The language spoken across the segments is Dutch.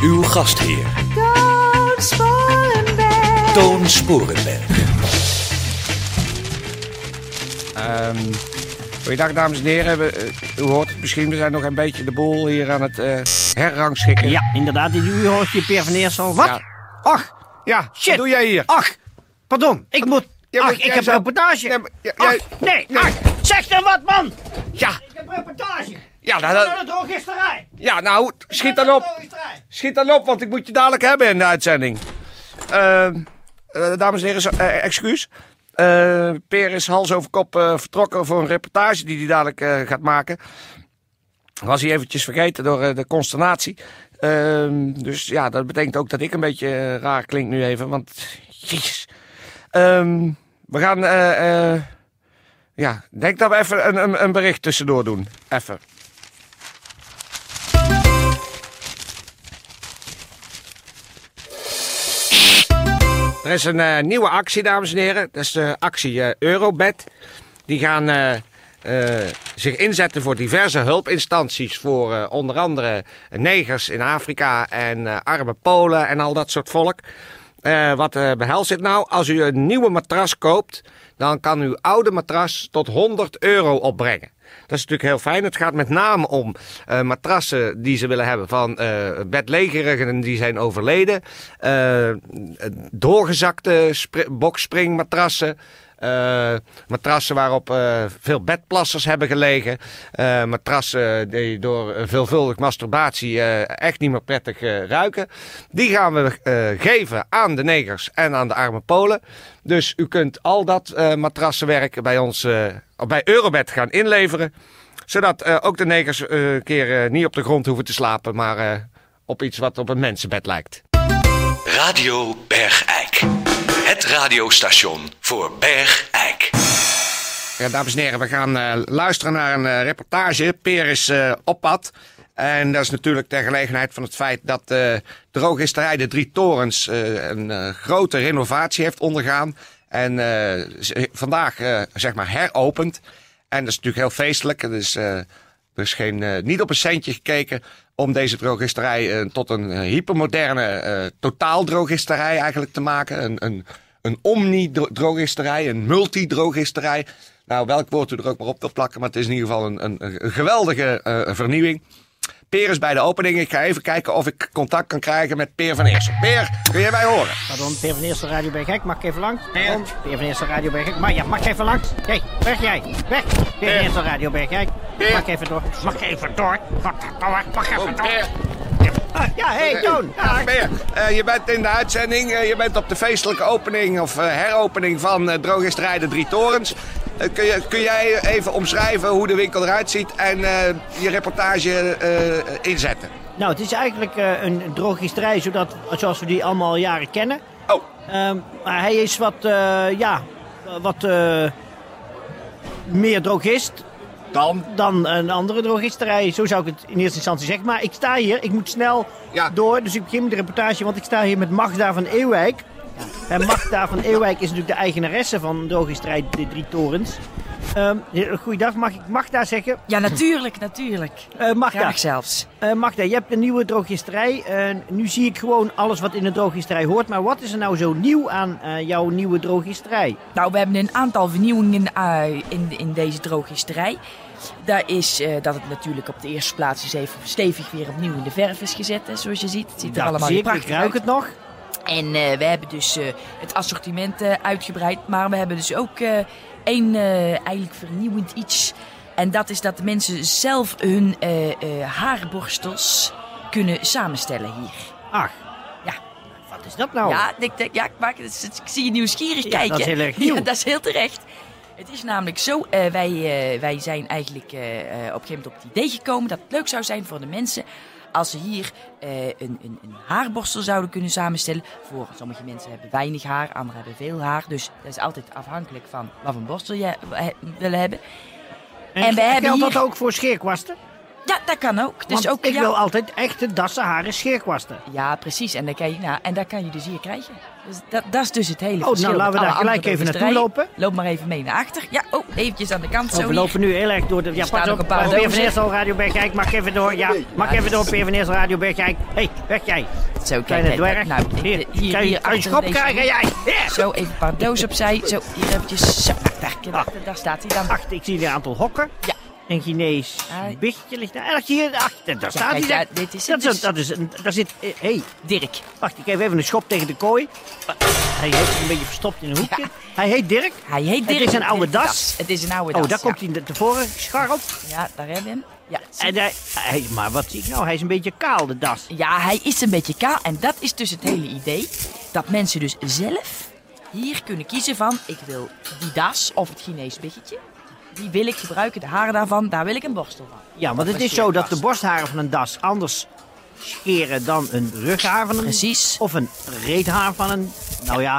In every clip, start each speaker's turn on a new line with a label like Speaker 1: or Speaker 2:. Speaker 1: Uw gastheer
Speaker 2: Toon Sporenberg.
Speaker 1: Toon Sporenberg.
Speaker 3: Ehm goeiedag dames en heren. We, eh, u hoort het misschien, we zijn nog een beetje de boel hier aan het eh herrangschikken.
Speaker 4: Ja, inderdaad. En U hoort je Peer van Eersel. Wat?
Speaker 3: Ja.
Speaker 4: Ach,
Speaker 3: Ja,
Speaker 4: shit.
Speaker 3: wat doe jij hier?
Speaker 4: Ach, pardon. Ik moet...
Speaker 3: Ja, maar
Speaker 4: ach, ik
Speaker 3: jij
Speaker 4: heb
Speaker 3: zou-
Speaker 4: reportage.
Speaker 3: Nee, maar j-
Speaker 4: Ach,
Speaker 3: jij-
Speaker 4: nee,
Speaker 3: Nee.
Speaker 4: ach. Zeg dan wat, man.
Speaker 3: Ja,
Speaker 4: Ik heb reportage.
Speaker 3: ja, nou,
Speaker 4: Naar
Speaker 3: dat-
Speaker 4: de drogisterij.
Speaker 3: ja, nou, schiet
Speaker 4: Naar
Speaker 3: dan
Speaker 4: de
Speaker 3: op.
Speaker 4: drogisterij.
Speaker 3: Schiet dan op, want ik moet je dadelijk hebben in de uitzending. Ehm, eh, dames en heren, zo- eh, excuus. Eh, Peer is hals over kop eh, vertrokken voor een reportage die hij dadelijk eh, gaat maken. Was hij eventjes vergeten door eh, de consternatie. Ehm, dus ja, dat betekent ook dat ik een beetje eh, raar klink nu even. Want, jezus. Ehm, we gaan, eh, eh, ja, ik denk dat we even een, een, een bericht tussendoor doen. Even. Er is een eh, nieuwe actie, dames en heren. Dat is de actie eh, Eurobed. Die gaan eh, eh, zich inzetten voor diverse hulpinstanties. Voor eh, onder andere negers in Afrika en eh, arme Polen en al dat soort volk. Eh, wat eh behelst dit nou? Als u een nieuwe matras koopt, dan kan uw oude matras tot 100 euro opbrengen. Dat is natuurlijk heel fijn. Het gaat met name om eh, matrassen die ze willen hebben van eh bedlegerigen die zijn overleden. Eh, doorgezakte spri- bokspringmatrassen. eh, matrassen waarop eh, veel bedplassers hebben gelegen. eh, matrassen die door eh, veelvuldig masturbatie eh, echt niet meer prettig eh, ruiken. Die gaan we eh, geven aan de negers en aan de arme Polen. Dus u kunt al dat eh, matrassenwerk bij ons eh, bij Eurobed gaan inleveren. Zodat eh, ook de negers eh, een keer eh, niet op de grond hoeven te slapen, maar eh, op iets wat op een mensenbed lijkt.
Speaker 1: Radio Bergijk. Het radiostation voor Bergijk.
Speaker 3: Ja, dames en heren, we gaan eh, luisteren naar een eh, reportage. Peer is eh, op pad. En dat is natuurlijk ter gelegenheid van het feit dat eh drogisterij De Drie Torens eh, een eh, grote renovatie heeft ondergaan. En eh, z- vandaag eh, zeg maar heropend. En dat is natuurlijk heel feestelijk. Het is eh, er is geen, eh, niet op een centje gekeken om deze drogisterij eh, tot een eh, hypermoderne eh, totaaldrogisterij eigenlijk te maken. Een, een, een omni-drogisterij, een multidrogisterij. Nou, welk woord u er ook maar op wilt plakken, maar het is in ieder geval een, een, een geweldige eh, vernieuwing. Peer is bij de opening. Ik ga even kijken of ik contact kan krijgen met Peer van Eersel. Peer, kun jij mij horen?
Speaker 4: Pardon, Peer van Eersel, Radio Bergijk. Mag ik even langs? Pardon, Peer van Eersel, Radio Bergijk. Maar ja, mag ik even langs? Hé, weg jij. Weg. Peer van Eersel, Radio Bergijk. Mag ik even door? Mag ik even door? Godverdomme, Mag ik even door? Ah, Ja, hé, Toon. Ja,
Speaker 3: Peer, eh, je bent in de uitzending. eh, je bent op de feestelijke opening of eh, heropening van eh, Drogisterij De Drie Torens. Eh, kun, je, kun jij even omschrijven hoe de winkel eruit ziet en eh, je reportage eh, inzetten?
Speaker 4: Nou, het is eigenlijk eh, een drogisterij zodat, zoals we die allemaal al jaren kennen.
Speaker 3: Oh,
Speaker 4: Ehm, maar hij is wat, eh, ja, wat eh, meer drogist
Speaker 3: dan?
Speaker 4: dan een andere drogisterij. Zo zou ik het in eerste instantie zeggen. Maar ik sta hier, ik moet snel
Speaker 3: Ja.
Speaker 4: door, dus ik begin met de reportage. Want ik sta hier met Magda van Eeuwijk. En Magda van Eeuwijk is natuurlijk de eigenaresse van drogisterij De Drie Torens. Ehm goeiedag, mag ik Magda zeggen?
Speaker 5: Ja, natuurlijk, natuurlijk.
Speaker 4: Eh, Magda.
Speaker 5: Graag zelfs.
Speaker 4: Eh, Magda, je hebt een nieuwe drogisterij. Eh, nu zie ik gewoon alles wat in een drogisterij hoort. Maar wat is er nou zo nieuw aan eh, jouw nieuwe drogisterij?
Speaker 5: Nou, we hebben een aantal vernieuwingen eh, in, in deze drogisterij. Daar is eh, dat het natuurlijk op de eerste plaats eens even stevig weer opnieuw in de verf is gezet. Hè, zoals je ziet. Het ziet er
Speaker 4: Dat
Speaker 5: allemaal
Speaker 4: zie
Speaker 5: weer
Speaker 4: ik,
Speaker 5: prachtig
Speaker 4: ik ruik
Speaker 5: uit.
Speaker 4: het nog.
Speaker 5: En eh, we hebben dus eh, het assortiment eh, uitgebreid. Maar we hebben dus ook eh, één eh, eigenlijk vernieuwend iets. En dat is dat de mensen zelf hun eh, eh, haarborstels kunnen samenstellen hier.
Speaker 4: Ach,
Speaker 5: Ja.
Speaker 4: wat is dat nou?
Speaker 5: Ja, ik, denk- ja ik, maak, het- het- ik zie je nieuwsgierig
Speaker 4: Ja,
Speaker 5: kijken.
Speaker 4: dat is heel erg nieuw.
Speaker 5: Ja, dat is heel terecht. Het is namelijk zo, eh, wij, eh, wij zijn eigenlijk eh, eh, op een gegeven moment op het idee gekomen dat het leuk zou zijn voor de mensen als ze hier eh, een, een, een haarborstel zouden kunnen samenstellen. Voor sommige mensen hebben weinig haar, anderen hebben veel haar. Dus dat is altijd afhankelijk van wat voor een borstel je eh, willen hebben. En, we hebben
Speaker 4: Geldt
Speaker 5: hier...
Speaker 4: dat ook voor scheerkwasten?
Speaker 5: Ja, dat kan ook. Dus
Speaker 4: Want
Speaker 5: ook
Speaker 4: ik
Speaker 5: ja.
Speaker 4: wil altijd echte dassen haren scheerkwasten.
Speaker 5: Ja, precies. En daar kan je, nou, en daar kan je dus hier krijgen. Dus dat, dat is dus het hele
Speaker 4: nou,
Speaker 5: verschil.
Speaker 4: laten we
Speaker 5: met
Speaker 4: daar
Speaker 5: alle
Speaker 4: gelijk
Speaker 5: andere
Speaker 4: even naartoe
Speaker 5: besterijen.
Speaker 4: lopen.
Speaker 5: Loop maar even mee naar achter. Ja, oh, eventjes aan de kant.
Speaker 4: Oh,
Speaker 5: zo
Speaker 4: we
Speaker 5: hier.
Speaker 4: lopen nu heel erg door de... Ja,
Speaker 5: staan
Speaker 4: pas
Speaker 5: nog een
Speaker 4: op,
Speaker 5: paar
Speaker 4: P van
Speaker 5: dozen.
Speaker 4: Eersel, Radio Bergijk, mag even door. Ja, mag
Speaker 5: Ja,
Speaker 4: even door,
Speaker 5: dat
Speaker 4: P van Eersel, Radio Bergijk. Hé, hey, weg jij.
Speaker 5: Zo, kijk,
Speaker 4: Kleine
Speaker 5: kijk,
Speaker 4: dwerg.
Speaker 5: kijk. Nou, ik-
Speaker 4: Hier, kan je-
Speaker 5: hier,
Speaker 4: kan je
Speaker 5: achter
Speaker 4: schop
Speaker 5: deze-
Speaker 4: krijgen, jij? Hier.
Speaker 5: Zo, even een paar dozen opzij. Zo, hier eventjes. Zo, nou, daar, kijk,
Speaker 4: Ah.
Speaker 5: daar staat hij dan.
Speaker 4: Achter, ik zie hier een aantal hokken.
Speaker 5: Ja.
Speaker 4: Een Chinees
Speaker 5: Ah.
Speaker 4: bichtje ligt daar. En als je hier, achter, daar staat
Speaker 5: kijk,
Speaker 4: hij.
Speaker 5: ja,
Speaker 4: daar.
Speaker 5: dit is
Speaker 4: dat
Speaker 5: het
Speaker 4: is, een-
Speaker 5: dus.
Speaker 4: dat is, een- daar zit, hé, hey,
Speaker 5: Dirk.
Speaker 4: wacht, ik geef even een schop tegen de kooi. Ah, Hij heeft zich een beetje verstopt in een hoekje.
Speaker 5: Ja.
Speaker 4: Hij heet Dirk.
Speaker 5: Hij heet
Speaker 4: Het
Speaker 5: Dirk.
Speaker 4: is een oude
Speaker 5: Dirk de
Speaker 4: das.
Speaker 5: Het is een oude das.
Speaker 4: Oh, daar
Speaker 5: ja.
Speaker 4: komt hij de- tevoren schar op.
Speaker 5: Ja, daar hebben we hem. Ja, zie
Speaker 4: En hij, hij- maar wat zie ik nou? Hij is een beetje kaal, de das.
Speaker 5: Ja, hij is een beetje kaal. En dat is dus het hele idee. Dat mensen dus zelf hier kunnen kiezen van... ik wil die das of het Chinees biggetje. Die wil ik gebruiken, de haren daarvan. Daar wil ik een borstel van.
Speaker 4: Ja, want het is zo dat de borstharen van een das anders scheren dan een rughaar van een...
Speaker 5: Precies.
Speaker 4: Of een reethaar van een... Nou ja,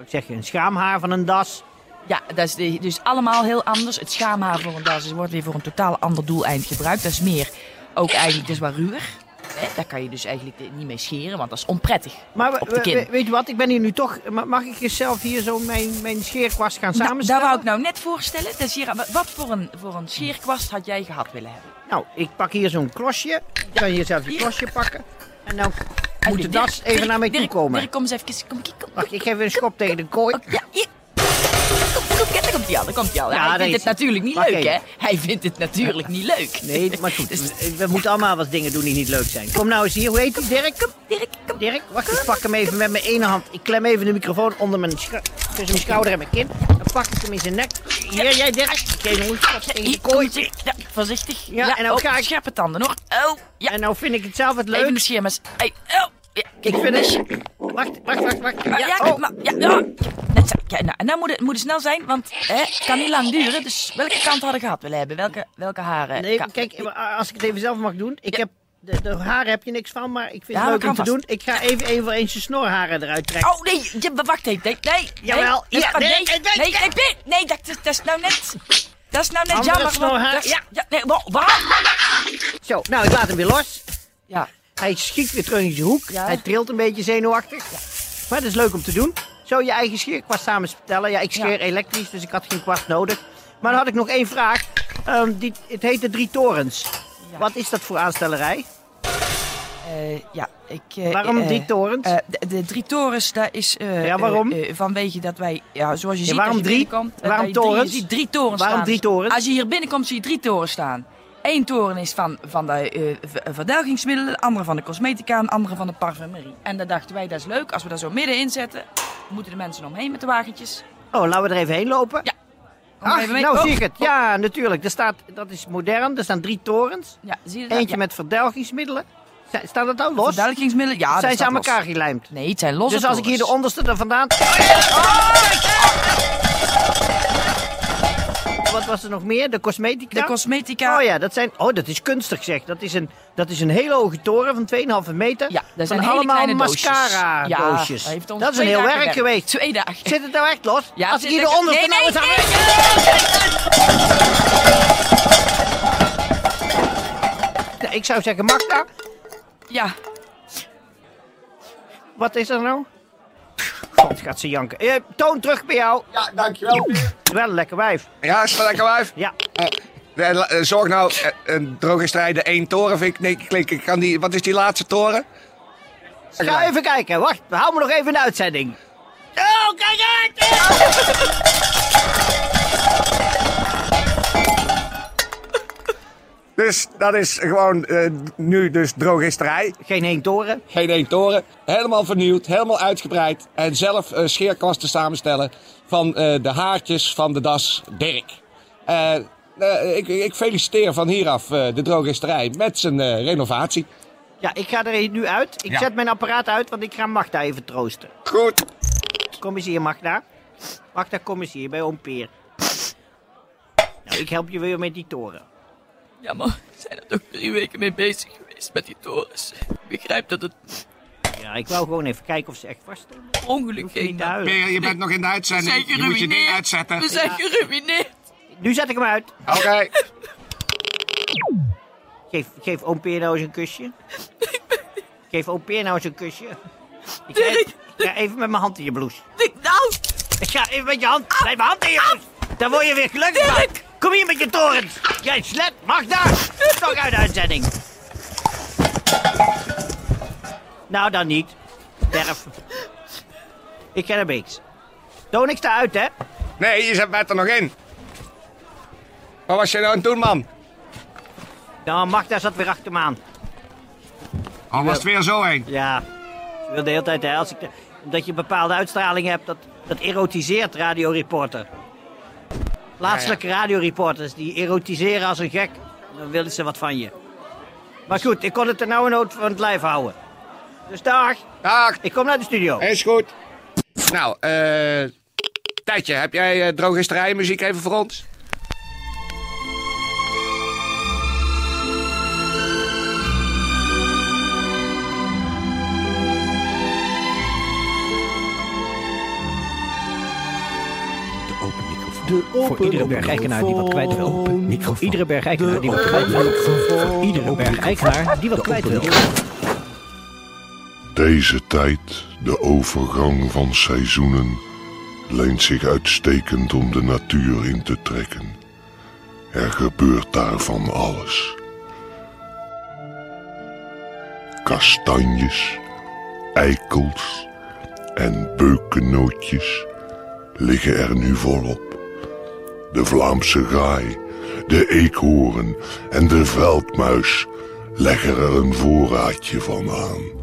Speaker 4: ik zeg je, een schaamhaar van een das.
Speaker 5: Ja, dat is de- dus allemaal heel anders. Het schaamhaar voor een das is- wordt weer voor een totaal ander doeleind gebruikt. Dat is meer ook eigenlijk, dat is wat ruwer. Hè, Daar kan je dus eigenlijk eh, niet mee scheren, want dat is onprettig
Speaker 4: Maar we-
Speaker 5: op de
Speaker 4: we-
Speaker 5: kin.
Speaker 4: we- weet je wat, ik ben hier nu toch... ma- Mag ik eens zelf hier zo mijn, mijn scheerkwast gaan
Speaker 5: Nou,
Speaker 4: samenstellen?
Speaker 5: daar wou ik nou net voorstellen. Dat is hier, wa- wat voor een, voor een scheerkwast had jij gehad willen hebben?
Speaker 4: Nou, ik pak hier zo'n klosje. Ik kan hier zelf die
Speaker 5: Hier.
Speaker 4: klosje pakken. En nou
Speaker 5: En
Speaker 4: moet de
Speaker 5: Dirk-
Speaker 4: das even
Speaker 5: Dirk-
Speaker 4: naar mij toe
Speaker 5: Dirk-
Speaker 4: komen.
Speaker 5: Dirk, kom eens even. Kom, kom, kom.
Speaker 4: Wacht, ik geef een schop tegen de kooi.
Speaker 5: Ja, hier. Kom, kom, kijk, daar komt hij al, daar komt hij al.
Speaker 4: Ja,
Speaker 5: hij
Speaker 4: daar
Speaker 5: vindt
Speaker 4: is
Speaker 5: het
Speaker 4: hij.
Speaker 5: natuurlijk niet
Speaker 4: Wacht
Speaker 5: leuk, hè?
Speaker 4: even.
Speaker 5: Hij vindt het natuurlijk niet leuk.
Speaker 4: Nee, maar goed,
Speaker 5: Dus-
Speaker 4: we, we moeten allemaal wat dingen doen die niet leuk zijn. Kom nou eens hier, hoe heet die, Dirk? Kom,
Speaker 5: Dirk, kom.
Speaker 4: Dirk, wacht, ik pak hem even met mijn ene hand. Ik klem even de microfoon onder mijn, scho- tussen mijn schouder en mijn kin. Dan pak ik hem in zijn nek. Hier, jij Dirk. Ik geef hem een schop tegen de
Speaker 5: Hier,
Speaker 4: kooi.
Speaker 5: kom, ja, voorzichtig.
Speaker 4: Ja, en dan
Speaker 5: oh,
Speaker 4: ga ik-
Speaker 5: scherpe tanden, hoor. Oh, ja,
Speaker 4: En nou vind ik het zelf het
Speaker 5: even de
Speaker 4: leuk.
Speaker 5: schermers. Hey, oh, ja,
Speaker 4: Ik
Speaker 5: kijk.
Speaker 4: vind het... Wacht, wacht, wacht, wacht.
Speaker 5: Ja, ja,
Speaker 4: oh.
Speaker 5: maar, ja, ja. Net zo. Kijk, nou, en dan moet het, moet het snel zijn, want hè, het kan niet lang duren. Dus welke kant hadden we gehad willen hebben? Welke, welke haren?
Speaker 4: Nee,
Speaker 5: Ka-
Speaker 4: kijk, als ik het even zelf mag doen. Ik heb... De, de haren heb je niks van, maar ik vind
Speaker 5: Ja,
Speaker 4: het leuk
Speaker 5: dat
Speaker 4: om te
Speaker 5: kan
Speaker 4: doen.
Speaker 5: vast.
Speaker 4: Ik ga even even eens zijn snorharen eruit trekken.
Speaker 5: Oh nee, je- wacht even. Nee, nee.
Speaker 4: Jawel,
Speaker 5: nee,
Speaker 4: ja,
Speaker 5: dat is-
Speaker 4: nee,
Speaker 5: nee,
Speaker 4: nee,
Speaker 5: nee,
Speaker 4: nee,
Speaker 5: nee, nee, nee, nee, dat, dat is nou net. Dat is nou net
Speaker 4: Andere
Speaker 5: jammer. want
Speaker 4: snorhaar,
Speaker 5: dat is-
Speaker 4: ja.
Speaker 5: ja, nee, wa- waar? Oh,
Speaker 4: Zo, nou, ik laat hem weer los.
Speaker 5: Ja,
Speaker 4: Hij schiet weer terug in zijn hoek.
Speaker 5: Ja.
Speaker 4: Hij trilt een beetje zenuwachtig. Maar dat is leuk om te doen. Zo je eigen scheerkwast samen vertellen. Ja, ik scheer
Speaker 5: Ja.
Speaker 4: elektrisch, dus ik had geen kwast nodig. Maar dan had ik nog één vraag. Ehm, die, het heet de Drie Torens.
Speaker 5: Ja.
Speaker 4: Wat is dat voor aanstellerij?
Speaker 5: eh, ja, ik... eh,
Speaker 4: Waarom
Speaker 5: eh,
Speaker 4: drie torens?
Speaker 5: eh, de, de drie torens, daar is... eh,
Speaker 4: Ja, waarom?
Speaker 5: eh, eh, vanwege dat wij, ja, zoals je ziet...
Speaker 4: waarom
Speaker 5: als je
Speaker 4: drie?
Speaker 5: binnenkomt, eh,
Speaker 4: Waarom
Speaker 5: bij drie-
Speaker 4: torens?
Speaker 5: Je ziet drie torens
Speaker 4: Waarom
Speaker 5: staan.
Speaker 4: drie torens?
Speaker 5: Als je hier binnenkomt, zie je drie torens staan. Eén toren is van, van de eh, ver- verdelgingsmiddelen, de andere van de cosmetica en de andere van de parfumerie. En daar dachten wij, dat is leuk, als we daar zo middenin zetten, moeten de mensen omheen met de wagentjes.
Speaker 4: Oh, laten we er even heen lopen.
Speaker 5: Ja. Kom
Speaker 4: Ach,
Speaker 5: even mee.
Speaker 4: nou
Speaker 5: Oh,
Speaker 4: zie ik het.
Speaker 5: oh.
Speaker 4: Ja, natuurlijk. Er staat, dat is modern. Er staan drie torens.
Speaker 5: Ja, zie je dat?
Speaker 4: Eentje
Speaker 5: Ja.
Speaker 4: met verdelgingsmiddelen. Sta- Staat dat nou los?
Speaker 5: Verduidelijkingsmiddelen, ja, Ah, dat
Speaker 4: Zijn ze
Speaker 5: staat
Speaker 4: aan
Speaker 5: los.
Speaker 4: elkaar gelijmd?
Speaker 5: Nee, het zijn losse
Speaker 4: Dus als ik hier de
Speaker 5: torens. Oh,
Speaker 4: onderste er vandaan. Wat was er nog meer? De cosmetica?
Speaker 5: De cosmetica.
Speaker 4: Oh ja, dat zijn. Oh, dat is kunstig zeg. Dat is een, dat is een hele hoge toren van 2,5 meter.
Speaker 5: Ja,
Speaker 4: van
Speaker 5: dat zijn hele
Speaker 4: allemaal
Speaker 5: kleine doosjes.
Speaker 4: mascara doosjes.
Speaker 5: Ja, heeft ons
Speaker 4: dat is een
Speaker 5: twee
Speaker 4: heel
Speaker 5: dagen
Speaker 4: werk
Speaker 5: gewerkt.
Speaker 4: geweest.
Speaker 5: Twee dagen.
Speaker 4: Zit het nou echt los?
Speaker 5: Ja,
Speaker 4: als ik
Speaker 5: zit
Speaker 4: hier de
Speaker 5: er-
Speaker 4: onderste
Speaker 5: nee,
Speaker 4: nou
Speaker 5: nee,
Speaker 4: eens aan-
Speaker 5: nee,
Speaker 4: Nou, Ik zou zeggen, Magda,
Speaker 5: Ja,
Speaker 4: wat is er nou? God, gaat ze janken. Eh, toon terug bij jou.
Speaker 6: Ja, dankjewel. Peer.
Speaker 4: Wel een lekker wijf.
Speaker 6: Ja, is wel lekker wijf.
Speaker 4: Ja,
Speaker 6: Eh, la- eh, Zorg nou, eh, een droge strijden, één toren vind ik... Nee, klik, ik kan die, wat is die laatste toren?
Speaker 4: Ga even kijken, wacht, we houden nog even een uitzending. Zo, kijk uit!
Speaker 6: Dus dat is gewoon eh, nu dus drogisterij.
Speaker 4: Geen heen toren.
Speaker 6: Geen één toren. Helemaal vernieuwd, helemaal uitgebreid. En zelf eh, scheerkwasten samenstellen van eh, de haartjes van de das Dirk. Eh, eh, ik, ik feliciteer van hieraf eh, de drogisterij met zijn eh, renovatie.
Speaker 4: Ja, ik ga er nu uit. Ik
Speaker 6: Ja.
Speaker 4: zet mijn apparaat uit, want ik ga Magda even troosten.
Speaker 6: Goed.
Speaker 4: Kom eens hier, Magda. Magda, kom eens hier bij oom Peer. Ik help je weer met die toren.
Speaker 5: Ja, maar we zijn er toch drie weken mee bezig geweest met die torens. Ik begrijp dat het
Speaker 4: Ja, ik wou gewoon even kijken of ze echt vast stonden.
Speaker 5: per ongeluk
Speaker 4: Hoef je
Speaker 6: nou,
Speaker 5: ging.
Speaker 4: niet te
Speaker 5: daar.
Speaker 4: huilen.
Speaker 3: Peer, je bent nog in de
Speaker 5: We zijn
Speaker 3: uitzending. Je moet je ding
Speaker 5: geruïneerd.
Speaker 3: uitzetten.
Speaker 5: We zijn geruineerd.
Speaker 4: Nu zet ik hem uit.
Speaker 3: Oké.
Speaker 4: Geef, geef oom Peer nou eens een kusje. Geef oom Peer nou eens een kusje. Ik ga, ik ga even met mijn hand in je blouse.
Speaker 5: Dik nou!
Speaker 4: Ik ga even met je hand. Blijf mijn hand in je blouse. Dan word je weer gelukkig van.
Speaker 5: Dirk!
Speaker 4: Kom hier met je torens. Jij slet. Mag daar. Toch uit de uitzending. Nou, dan niet. Derf. Ik ga naar Beeks. Toon, ik sta uit, hè?
Speaker 3: Nee, je zet mij er nog in. Wat was je nou aan het doen, man?
Speaker 4: Nou, Magda zat weer achter me aan.
Speaker 3: Al was het weer zo heen.
Speaker 4: Ja, ik wil de hele tijd, hè, als ik de- omdat je een bepaalde uitstraling hebt, dat, dat erotiseert radioreporter. Plaatselijke radioreporters, die erotiseren als een gek. Dan willen ze wat van je. Maar goed, ik kon het er nou een nood van het lijf houden. Dus dag,
Speaker 3: Dag,
Speaker 4: ik kom naar de studio.
Speaker 3: is goed. Nou, eh... Tijdje, heb jij eh, drogisterijmuziek even voor ons?
Speaker 4: Voor iedere bergeigenaar die wat kwijt wil. Voor iedere bergeigenaar die wat kwijt wil. Voor iedere bergeigenaar die wat kwijt wil.
Speaker 7: Deze tijd, de overgang van seizoenen, leent zich uitstekend om de natuur in te trekken. Er gebeurt daar van alles. Kastanjes, eikels en beukennootjes liggen er nu volop. De Vlaamse gaai, de eekhoorn en de veldmuis leggen er een voorraadje van aan.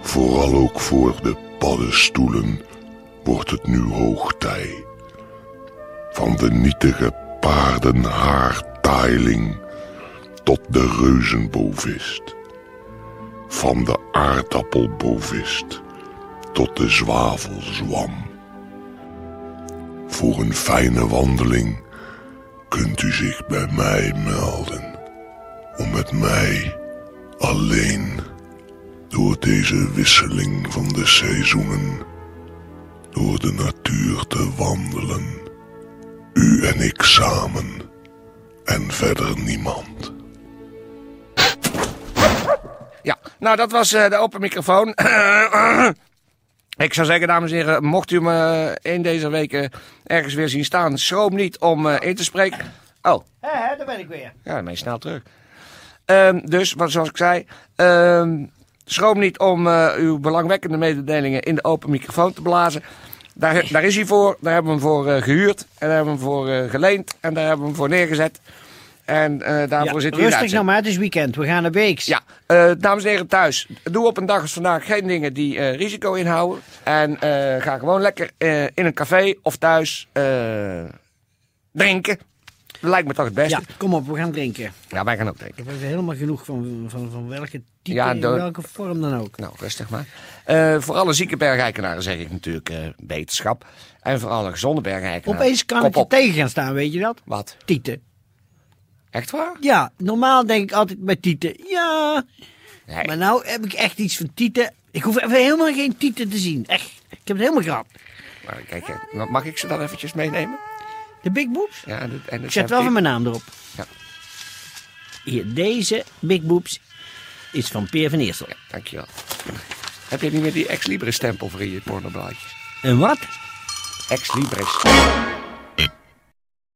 Speaker 7: Vooral ook voor de paddenstoelen wordt het nu hoog tij. Van de nietige paardenhaartailing tot de reuzenbovist. Van de aardappelbovist tot de zwavelzwam. Voor een fijne wandeling kunt u zich bij mij melden. Om met mij alleen door deze wisseling van de seizoenen, door de natuur te wandelen. U en ik samen en verder niemand.
Speaker 3: Ja, nou dat was eh, de open microfoon. Ik zou zeggen, dames en heren, mocht u me in deze weken ergens weer zien staan, schroom niet om eh, in te spreken. Oh,
Speaker 4: Hé, hé, daar ben ik weer.
Speaker 3: ja, dan ben je snel terug. Ehm, dus, wat, zoals ik zei, ehm, schroom niet om eh, uw belangwekkende mededelingen in de open microfoon te blazen. Daar, daar is hij voor, daar hebben we hem voor eh, gehuurd, en daar hebben we hem voor eh, geleend, en daar hebben we hem voor neergezet. En eh, daarvoor zit hij in de
Speaker 4: Rustig
Speaker 3: uitzending.
Speaker 4: nou maar, het is weekend. We gaan naar Beeks.
Speaker 3: Ja, eh, dames en heren thuis, doe op een dag als vandaag geen dingen die eh, risico inhouden. En eh, ga gewoon lekker eh, in een café of thuis eh, drinken. Lijkt me toch het beste.
Speaker 4: Ja,
Speaker 3: Ja,
Speaker 4: kom op, we gaan drinken.
Speaker 3: wij gaan ook drinken.
Speaker 4: Ik heb helemaal genoeg van, van, van welke type,
Speaker 3: Ja,
Speaker 4: in
Speaker 3: dat-
Speaker 4: welke vorm dan ook.
Speaker 3: Nou, rustig maar. Eh, voor alle zieke bergrijkenaren zeg ik natuurlijk eh, wetenschap. En voor alle gezonde bergrijkenaren.
Speaker 4: Opeens kan
Speaker 3: kop
Speaker 4: ik je
Speaker 3: op.
Speaker 4: tegen gaan staan, weet je dat?
Speaker 3: Wat?
Speaker 4: Tieten.
Speaker 3: Echt waar?
Speaker 4: Ja, normaal denk ik altijd bij tieten. Ja,
Speaker 3: Nee.
Speaker 4: maar nou heb ik echt iets van tieten. Ik hoef even helemaal geen tieten te zien. Echt, ik heb het helemaal gehad.
Speaker 3: Maar kijk, eh, mag ik ze dan eventjes meenemen?
Speaker 4: De big boobs?
Speaker 3: Ja, en, en
Speaker 4: Ik zet wel van mijn naam erop.
Speaker 3: Ja.
Speaker 4: Hier, deze big boobs is van Peer van Eersel.
Speaker 3: Dankjewel. Heb je niet meer die ex-libris stempel voor in je pornoblaadjes?
Speaker 4: En wat?
Speaker 3: Ex-libris.